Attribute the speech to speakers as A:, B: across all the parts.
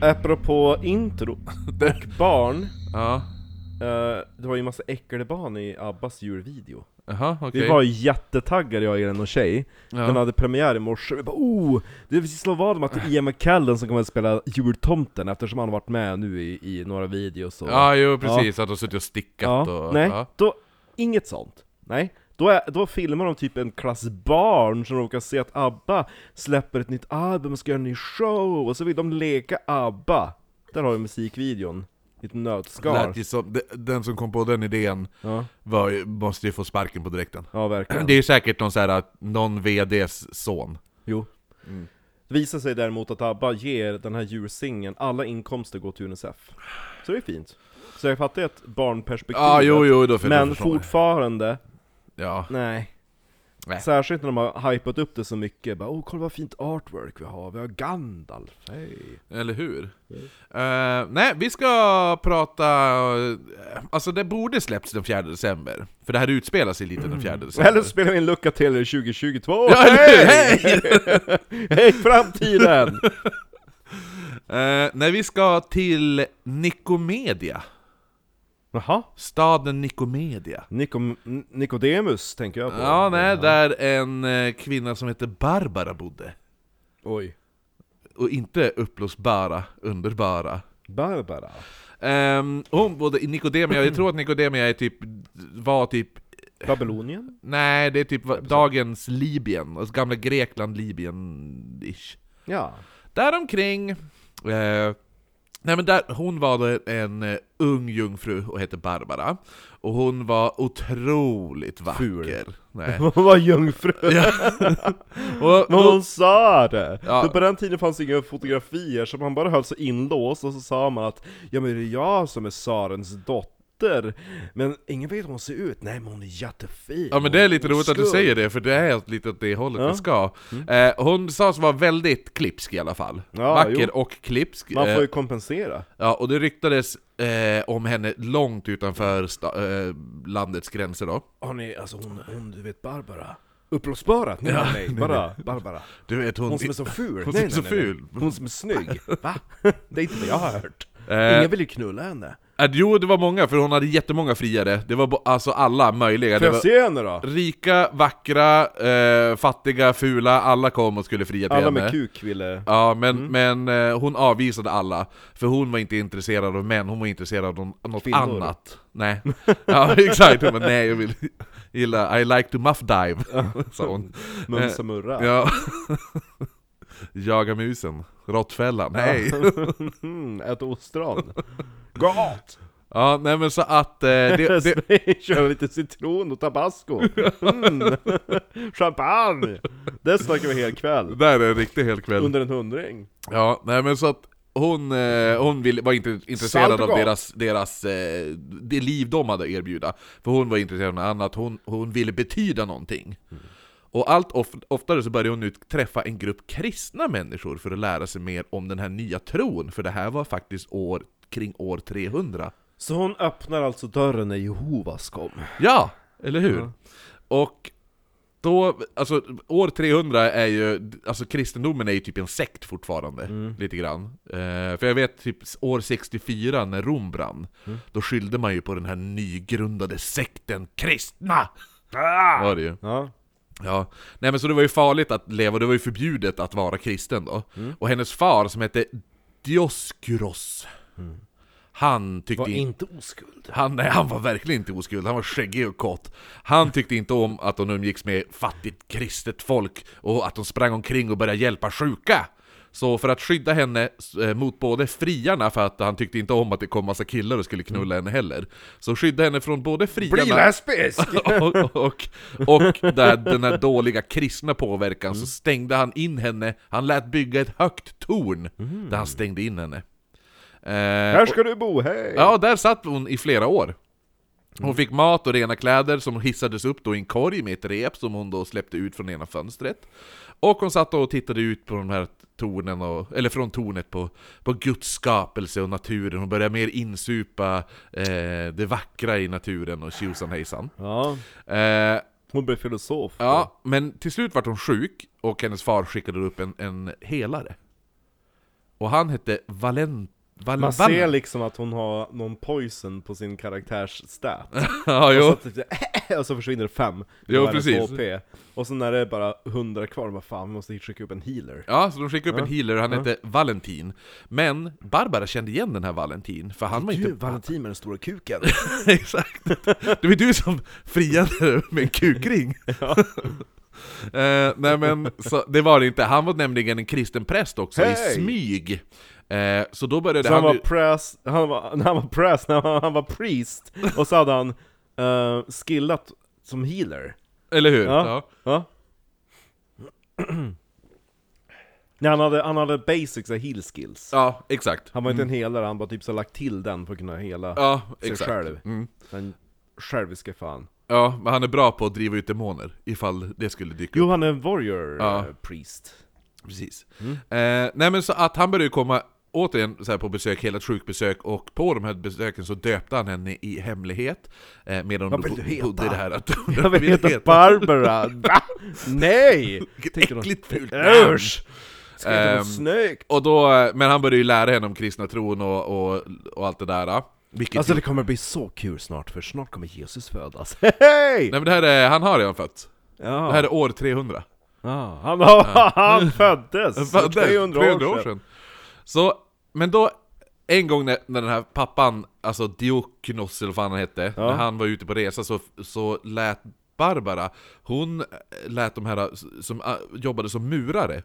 A: Apropå intro och barn,
B: Ja,
A: eh, det var ju massa äckelbarn i Abbas julvideo.
B: jaha okej.
A: Vi var ju jättetaggade jag, Irene och tjej.
B: ja.
A: Den hade premiär i morse, vi bara oh! Det vill slå vad om att det är Ian McKellen som kommer att spela jultomten eftersom han har varit med nu i, i några videos och...
B: Ja, jo precis, att de suttit och stickat
A: ja.
B: och...
A: Nej,
B: Ja.
A: då, inget sånt. Nej. Då, är, då filmar de typ en klass barn som råkar se att ABBA släpper ett nytt album och ska göra en ny show, och så vill de leka ABBA. Där har vi musikvideon. I ett nötskal.
B: Lät ju som, de- den som kom på den idén
A: Ja,
B: var, ju- måste ju få sparken på direkten.
A: ja verkligen.
B: Det är ju säkert någon, så här, att någon VDs son.
A: Jo. Det visar sig däremot att ABBA ger den här djursingen alla inkomster går till UNICEF. Så det är fint. Så jag fattar ju ett barnperspektiv.
B: Ja, jo, jo, då för
A: men
B: då förstår jag.
A: fortfarande,
B: Ja.
A: nej.
B: Nej.
A: Särskilt när de har hypat upp det så mycket, bara oh kolla vad fint artwork vi har, vi har Gandalf, hej!
B: Eller hur? Eh, nej, vi ska prata... eh, Alltså det borde släppts den 4 december, för det här utspelar sig lite den 4 december.
A: Eller så spelar vi en lucka till 2022,
B: Ja, eller hur? Hej!
A: Hej framtiden!
B: Eh, nej, vi ska till Nikomedia.
A: Jaha,
B: Staden Nikomedia.
A: Nikom, Nikodemus tänker jag på.
B: Ja, nej, där en eh, kvinna som heter Barbara bodde.
A: Oj.
B: Och inte uppblåsbara, underbara.
A: Barbara.
B: Ehm, hon bodde i Nikodemia, jag tror att Nikodemia är typ, var typ
A: Babylonien?
B: Nej, det är typ va- dagens Libyen, alltså gamla Grekland, Libyen-ish.
A: Ja.
B: Däromkring... Eh, nej men där, hon var en eh, ung jungfru och hette Barbara. Och hon var otroligt vacker. Nej.
A: Hon var jungfru.
B: Ja. och,
A: Men
B: och,
A: hon sa det!
B: Ja.
A: För på den tiden fanns inga fotografier, så man bara höll sig inlåst och så sa man att Ja men det är jag som är tsarens dotter, men ingen vet hur hon ser ut, nej men hon är jättefin
B: ja men det är lite roligt att du säger det, för det är lite åt det hållet
A: Ja. Mm.
B: det ska. Eh, hon sades vara väldigt klipsk i alla fall.
A: Ja,
B: vacker
A: jo.
B: och klipsk.
A: Man
B: Eh,
A: får ju kompensera
B: Ja, och det ryktades eh, om henne långt utanför sta- eh, landets gränser då.
A: Har ni, alltså hon, hon du vet Barbara Uppblåsbara? Nej, nej, nej, bara Barbara
B: Du vet hon...
A: Hon som är så ful!
B: Hon
A: nej,
B: som är
A: nej,
B: så
A: nej,
B: ful.
A: Nej. Hon som är snygg! Va? Det är inte vad jag har hört
B: Eh,
A: Ingen vill ju knulla henne
B: äh, jo, det var många, för hon hade jättemånga friare. Det var bo- alltså alla möjliga.
A: Får
B: Det
A: jag
B: var
A: se henne då?
B: rika, vackra, eh, fattiga, fula, alla kom och skulle fria till
A: Alla
B: henne.
A: med kuk ville...
B: Ja, men, men eh, hon avvisade alla, för hon var inte intresserad av män, hon var intresserad av någon- något
A: Kvinnor.
B: annat. Nej, ja, exakt. Hon bara, nej jag vill gilla, I like to muff dive, sa hon.
A: Mumsa Murra
B: Ja. Jaga musen, råttfällan, nej!
A: Mm, ett ostron. Gott!
B: Ja, nej men så att... Eh, det, det,
A: Kör lite citron och tabasco. Mm. Champagne! Det snackar vi hel
B: det
A: kväll.
B: där är en riktig hel kväll.
A: Under en hundring.
B: Ja, nej men så att hon, eh, hon vill, var inte intresserad av
A: Saltgott.
B: deras, deras, eh, det liv de hade att erbjuda. För hon var intresserad av något annat, hon, hon ville betyda någonting. Och allt of, oftare så började hon nu träffa en grupp kristna människor för att lära sig mer om den här nya tron, för det här var faktiskt år, kring år 300.
A: Så hon öppnar alltså dörren när Jehovas kom.
B: Ja, eller hur?
A: Ja.
B: Och då, alltså år 300 är ju, alltså kristendomen är ju typ en sekt fortfarande, lite grann. Eh, för jag vet typ år 64 när Rom brann, då skyllde man ju på den här nygrundade sekten kristna! Var det ju.
A: Ja.
B: Ja. Nej men så det var ju farligt att leva, det var ju förbjudet att vara kristen då. Och hennes far som hette Dioskuros, han tyckte
A: Var
B: inte-
A: inte oskuld.
B: han, nej, han var verkligen inte oskuld, han var skäggig och kort. Han tyckte inte om att de umgicks med fattigt kristet folk och att de sprang omkring och började hjälpa sjuka. Så för att skydda henne eh, mot både friarna, för att han tyckte inte om att det kom massa killar och skulle knulla henne heller. Så skydda henne från både friarna...
A: Bli lesbisk!
B: och, och, och där den här dåliga kristna påverkan så stängde han in henne, han lät bygga ett högt torn där han stängde in henne. Eh,
A: Mm. Här ska du bo, hej!
B: Ja, där satt hon i flera år. Hon fick mat och rena kläder som hissades upp då i en korg med ett rep som hon då släppte ut från ena fönstret. Och hon satt och tittade ut på de här tornen, och, eller från tornet på, på Guds skapelse och naturen. Hon började mer insupa eh, det vackra i naturen och tjosan hejsan.
A: Ja,
B: Eh,
A: hon blev filosof.
B: ja, men till slut vart hon sjuk och hennes far skickade upp en, en helare. Och han hette Valen... Val,
A: Man ser liksom att hon har någon poison på sin karaktärs stat.
B: ja,
A: Och så,
B: jo.
A: typ, så- och så försvinner det fem.
B: Jo,
A: Då är det
B: precis.
A: 2P. Och sen när det är bara 100 kvar, bara fan vi måste skicka upp en healer.
B: Ja, så de skickade upp
A: Ja,
B: en healer och han
A: ja.
B: hette Valentin. Men Barbara kände igen den här Valentin, för han var
A: Du,
B: inte...
A: Valentin med den stora kuken!
B: Exakt! Det var du som friade med en kukring! eh, nej men, så, det var det inte. Han var nämligen en kristen präst också, i
A: Hej!
B: smyg. Eh, så då började
A: Så han
B: han...
A: var
B: ju-
A: press, han var, när han var press, när han, han var priest, och så hade han eh, skillat som healer.
B: Eller hur?
A: Ja.
B: Ja.
A: Ja. Nej, han hade, han hade basics av heal skills.
B: ja, exakt.
A: Han var inte en helare, han bara typ så lagt till den för att kunna hela
B: Mm. Ja,
A: sig
B: exakt.
A: själv.
B: Mm.
A: Den själviska fan.
B: Ja, men han är bra på att driva ut demoner, ifall det skulle dyka
A: Jo, han är en warrior
B: Ja.
A: eh, priest.
B: Precis.
A: Mm.
B: Eh, nej men så att han började ju komma återigen så här på besök, hela ett sjukbesök, och på de här besöken så döpte han henne i hemlighet. Eh, medan
A: Vad
B: de
A: vill
B: bo-
A: du heta?
B: bodde i det här att
A: Jag vill heta Barbara! Va? Nej!
B: Vilket
A: Tänker de.
B: äckligt fult namn.
A: Usch! Ska inte vara
B: Ehm,
A: snyggt!
B: och då, eh, Men han började ju lära henne om kristna tron och, och, och allt det där. Vilket
A: Alltså
B: ju,
A: det kommer bli så kul snart, för snart kommer Jesus födas. Hej!
B: nej men det här är, han har redan fötts.
A: Ja.
B: Det här är år 300.
A: Ah, han, har, han föddes!
B: Han föddes
A: 300 år sedan.
B: Så, men då, en gång när, när den här pappan, alltså Dioknos eller vad fan han hette,
A: Ja.
B: när han var ute på resa så, så lät Barbara, hon lät de här som ah, jobbade som murare,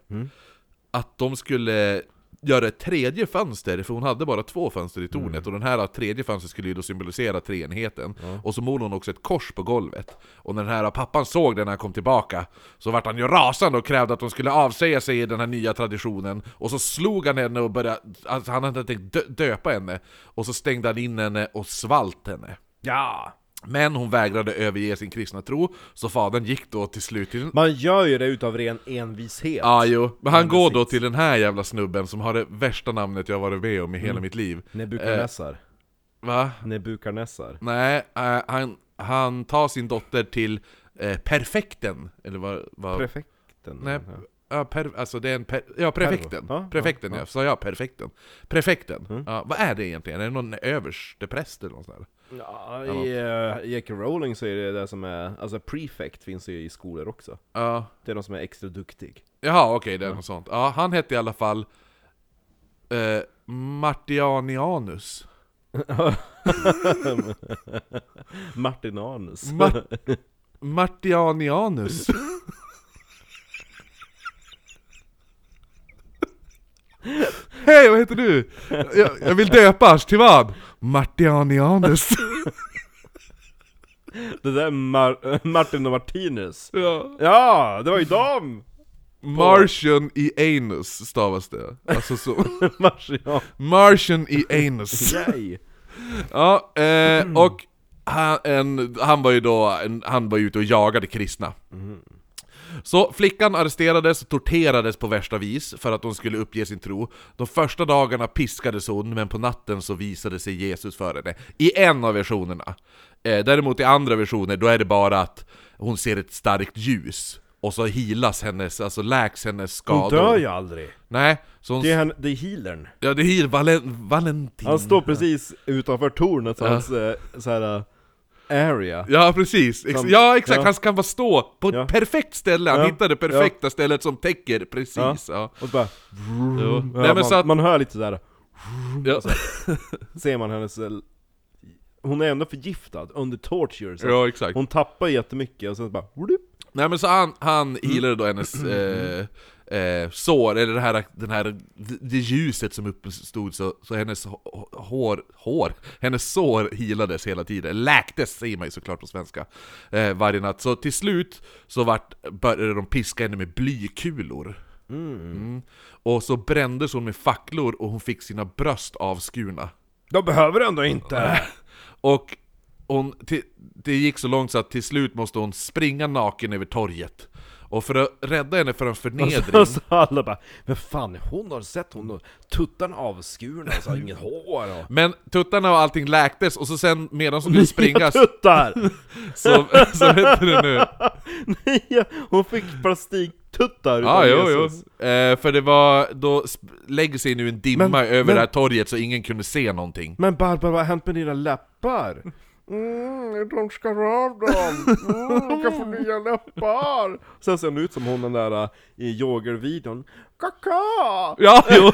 B: att de skulle göra ett tredje fönster, för hon hade bara två fönster i tornet, och den här tredje fönstret skulle ju då symbolisera treenigheten. Och så målade hon också ett kors på golvet. Och när den här pappan såg det när han kom tillbaka, så vart han ju rasande och krävde att hon skulle avsäga sig den här nya traditionen. Och så slog han henne och började, alltså han hade tänkt dö- döpa henne, och så stängde han in henne och svalt henne.
A: Ja!
B: Men hon vägrade överge sin kristna tro, så fadern gick då till slut till den
A: Man gör ju det utav ren envishet.
B: Ja, jo. Men han
A: Men
B: går då
A: precis.
B: till den här jävla snubben som har det värsta namnet jag varit med om i hela mitt liv.
A: Nebukadnessar.
B: Va?
A: Nebukadnessar.
B: Nej, eh, han, han tar sin dotter till eh, perfekten. Eller vad... vad
A: Prefekten.
B: nej,
A: Ja.
B: ja, per, alltså det är en per, ja, prefekten.
A: Ja, ja,
B: prefekten, ja. Mm.
A: ja.
B: Sa jag perfekten? Prefekten. Ja, vad är det egentligen? Är det någon överstepräst eller något sånt där?
A: Ja, i eh, J.K. Rowling så är det det som är, alltså prefect finns ju i skolor också.
B: Ja.
A: Det är de som är extra duktig.
B: Jaha, okej, det är något sånt. Ja, han hette i alla fall... Eh, Martianianus.
A: Martin Arnes.
B: Ma- Martianianus. Hej, vad heter du? Jag, jag vill döpas, till vad? Martianianus.
A: Det där är Mar- Martin och Martinus.
B: Ja.
A: Ja, det var ju dem!
B: Martian i anus stavas det. Alltså så.
A: Martian.
B: Martian i anus.
A: Yay!
B: Ja,
A: Mm.
B: eh, och han, en, han var ju då, en, han var ju ute och jagade kristna.
A: Mm.
B: Så flickan arresterades och torterades på värsta vis för att hon skulle uppge sin tro. De första dagarna piskades hon, men på natten så visade sig Jesus för henne. I en av versionerna. Eh, däremot i andra versioner, då är det bara att hon ser ett starkt ljus. Och så healas hennes, alltså läks hennes skador.
A: Hon dör ju aldrig.
B: Nej, så hon...
A: Det är, han, det är healern.
B: Ja, det är heal- Valen, Valentin.
A: Han står precis utanför tornet, så hans eh, så här, eh, area.
B: Ja precis, Ex-
A: Som-
B: ja exakt,
A: ja.
B: han ska bara stå på
A: Ja.
B: ett perfekt ställe, han
A: Ja.
B: hittar det perfekta stället som täcker precis. Ja.
A: Och så bara,
B: Jo.
A: ja,
B: Nej, men
A: man,
B: så att,
A: man hör lite sådär,
B: ja.
A: ser man hennes... eh, Hon är ändå förgiftad, under torture. Så
B: ja exakt.
A: Hon tappar jättemycket och sen bara...
B: Nej men så han, han healade då hennes eh, eh, sår, eller det här, den här, det ljuset som uppstod så, så hennes hå- hår, hår, hennes sår healades hela tiden, läktes säger man ju såklart på svenska eh, varje natt. Så till slut så vart, började de piska henne med blykulor. Mm. Och så brändes hon med facklor och hon fick sina bröst avskurna.
A: De behöver ändå inte!
B: Och hon, till, det gick så långt så att till slut måste hon springa naken över torget. Och för att rädda henne från förnedring...
A: Och så alla bara Men fan, hon har sett hon har tuttarna avskurna och så har inget hår och...
B: Men tuttarna och allting läktes, och så sen medan hon skulle springa så,
A: tuttar!
B: så, så heter det nu...
A: Nya, hon fick plastiktuttar
B: Ja,
A: utav
B: jo, jo.
A: Jesus.
B: Eh, för det var, då sp- lägger sig nu en dimma
A: Men-
B: över
A: men-
B: det här torget så ingen kunde se någonting.
A: Men Barbara, vad har hänt med dina läppar? Mm, de skar av dem! Mm, jag kan få nya läppar! Sen ser hon ut som hon den där äh, i yogervideon Kaka!
B: Ja, jo!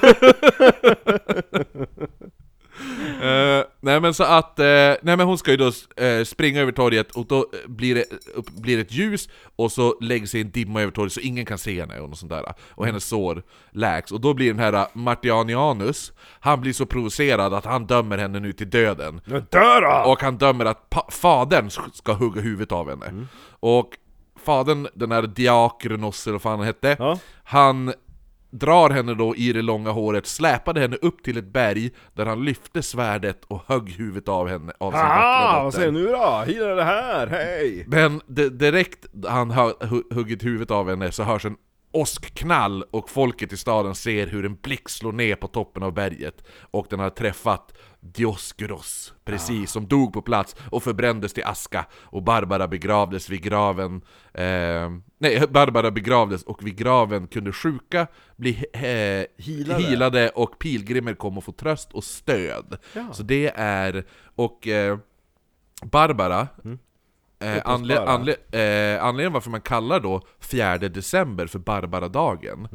B: Eh, nej men så att, eh, nej men hon ska ju då eh, springa över torget och då eh, blir det, upp, blir det ett ljus och så lägger sig en dimma över torget så ingen kan se henne och något sånt där. Och hennes sår läks. Och då blir den här eh, Martianianus, han blir så provocerad att han dömer henne nu till döden.
A: Nu dör han!
B: Och han dömer att pa- fadern sk- ska hugga huvudet av henne.
A: Mm.
B: Och fadern, den här Diakronos eller vad fan han hette,
A: Ja.
B: han drar henne då i det långa håret, släpade henne upp till ett berg där han lyfte svärdet och högg huvudet av henne, av sin
A: Ah,
B: Alltså, vackra
A: vad
B: dotter.
A: säger du nu då? Hila det här, hej!
B: Men di- direkt han har hu- huggit huvudet av henne så hörs en åskknall och folket i staden ser hur en blick slår ner på toppen av berget och den har träffat Dioskuros, precis, som dog på plats och förbrändes till aska och Barbara begravdes vid graven eh, Nej, Barbara begravdes och vid graven kunde sjuka bli eh,
A: Hilade.
B: hilade och pilgrimer kom och få tröst och stöd.
A: Ja.
B: Så det är, och eh, Barbara, Eh, anle
A: Barbara.
B: anle eh, anledningen varför man kallar då 4 december för Barbara-dagen,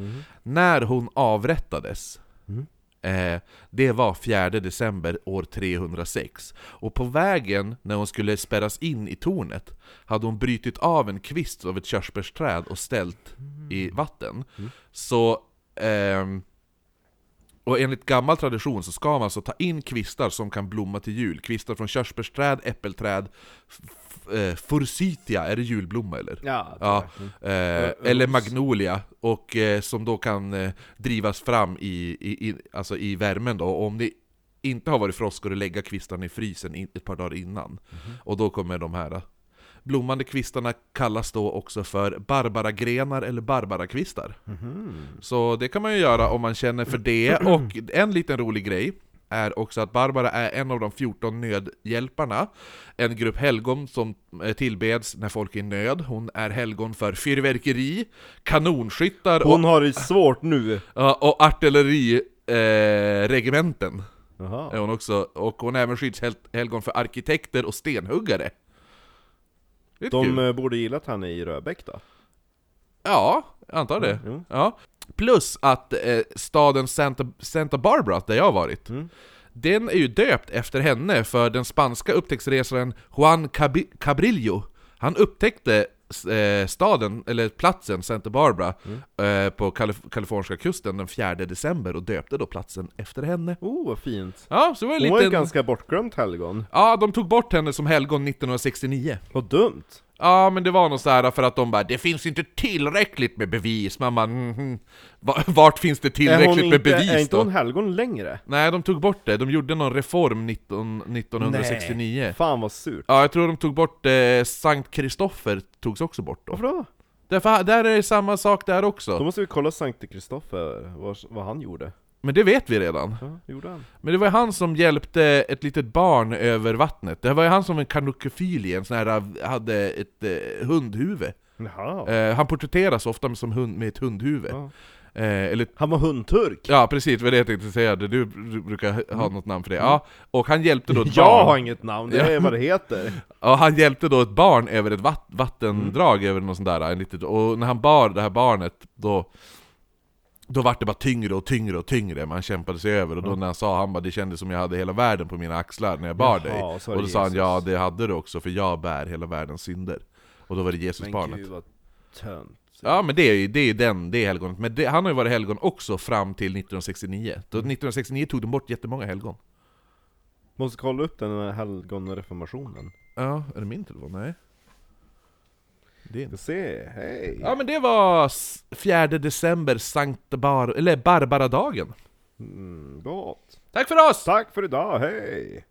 B: när hon avrättades, eh, det var 4 december år 306. Och på vägen, när hon skulle spärras in i tornet, hade hon brutit av en kvist av ett körsbärsträd och ställt i vatten. Så ehm, och enligt gammal tradition så ska man alltså ta in kvistar som kan blomma till jul. Kvistar från körsbärsträd, äppelträd, f- f- eh, forsythia, är det julblomma eller?
A: Ja,
B: Ja, eh, eller magnolia, och eh, som då kan eh, drivas fram i, i, i, alltså i värmen då. Och om det inte har varit frost ska du lägga kvistarna i frysen in, ett par dagar innan. Och då kommer de här eh, blommande kvistarna kallas då också för barbaragrenar eller barbarakvistar.
A: Mm-hmm.
B: Så det kan man ju göra om man känner för det, och en liten rolig grej är också att Barbara är en av de 14 nödhjälparna, en grupp helgon som eh, tillbeds när folk är i nöd. Hon är helgon för fyrverkeri, kanonskyttar
A: Hon
B: och,
A: har det svårt nu!
B: ja, och artilleriregementen.
A: Jaha.
B: Är hon också, och hon är även skyddshelgon för arkitekter och stenhuggare. Det är
A: De
B: kul.
A: eh, borde gillat han i Röbäck då?
B: Ja, jag antar det.
A: Mm, jo.
B: Ja. Plus att eh, staden Santa, Santa Barbara, där jag har varit,
A: Mm.
B: den är ju döpt efter henne för den spanska upptäcktsresaren Juan Cabi- Cabrillo. Han upptäckte eh, staden, eller platsen Santa Barbara,
A: Mm.
B: eh, på Kalif- kaliforniska kusten den 4 december och döpte då platsen efter henne.
A: Oh, vad fint!
B: Ja, så det var en
A: Hon var ju
B: liten...
A: ganska bortglömt helgon.
B: Ja, de tog bort henne som helgon 1969.
A: Vad dumt!
B: Ja, men det var något så här för att de bara 'Det finns inte tillräckligt med bevis' Man bara, mhm. Va- Vart finns det
A: Är hon
B: tillräckligt med
A: inte- Är
B: bevis
A: inte
B: då?
A: hon helgon längre?
B: Nej, de tog bort det, de gjorde någon reform 19, 1969
A: Fan vad surt.
B: Ja, jag tror de tog bort eh, Sankt Kristoffer, togs också bort då
A: Varför då?
B: Därför, Där är det samma sak där
A: Då
B: också,
A: måste vi kolla Sankte Kristoffer, vad, vad han gjorde.
B: men det vet vi redan
A: Ja, det gjorde han?
B: Men det var ju han som hjälpte ett litet barn över vattnet Det var ju han som en kanukefili, en sån här, hade ett eh, hundhuvud
A: Jaha.
B: Eh, han porträtteras ofta som hund, med ett hundhuvud.
A: Ja.
B: Eh, eller,
A: Han var hundturk!
B: ja precis, det var det jag tänkte säga, du du brukar ha något namn för det. Ja, och han hjälpte då ett
A: Mm. Jag har
B: barn,
A: inget namn, det är vad det heter.
B: ja, han hjälpte då ett barn över ett
A: Mm.
B: vat, vattendrag, över något sånt där, en litet, och när han bar det här barnet, då då vart det bara tyngre och tyngre och tyngre, man kämpade sig över, och då
A: Mm.
B: när han sa han bara 'Det kändes som jag hade hela världen på mina axlar när jag bar
A: Jaha,
B: dig'
A: och så var
B: Och då
A: det
B: sa han
A: Jesus.
B: 'Ja, det hade du också, för jag bär hela världens synder' Och då var det Jesusbarnet
A: vad tönt.
B: Ja men det är ju det är ju den, det är helgonet. Men det, han har ju varit helgon också fram till 1969. Då 1969 tog de bort jättemånga helgon.
A: Måste kolla upp den här helgonreformationen.
B: Ja, är det min telefon? Nej. Det är
A: Ska
B: inte.
A: se, hej!
B: Ja men det var s- 4 december, Sankt Bar eller Barbaradagen.
A: Mm, gott.
B: Tack för oss!
A: Tack för idag, hej!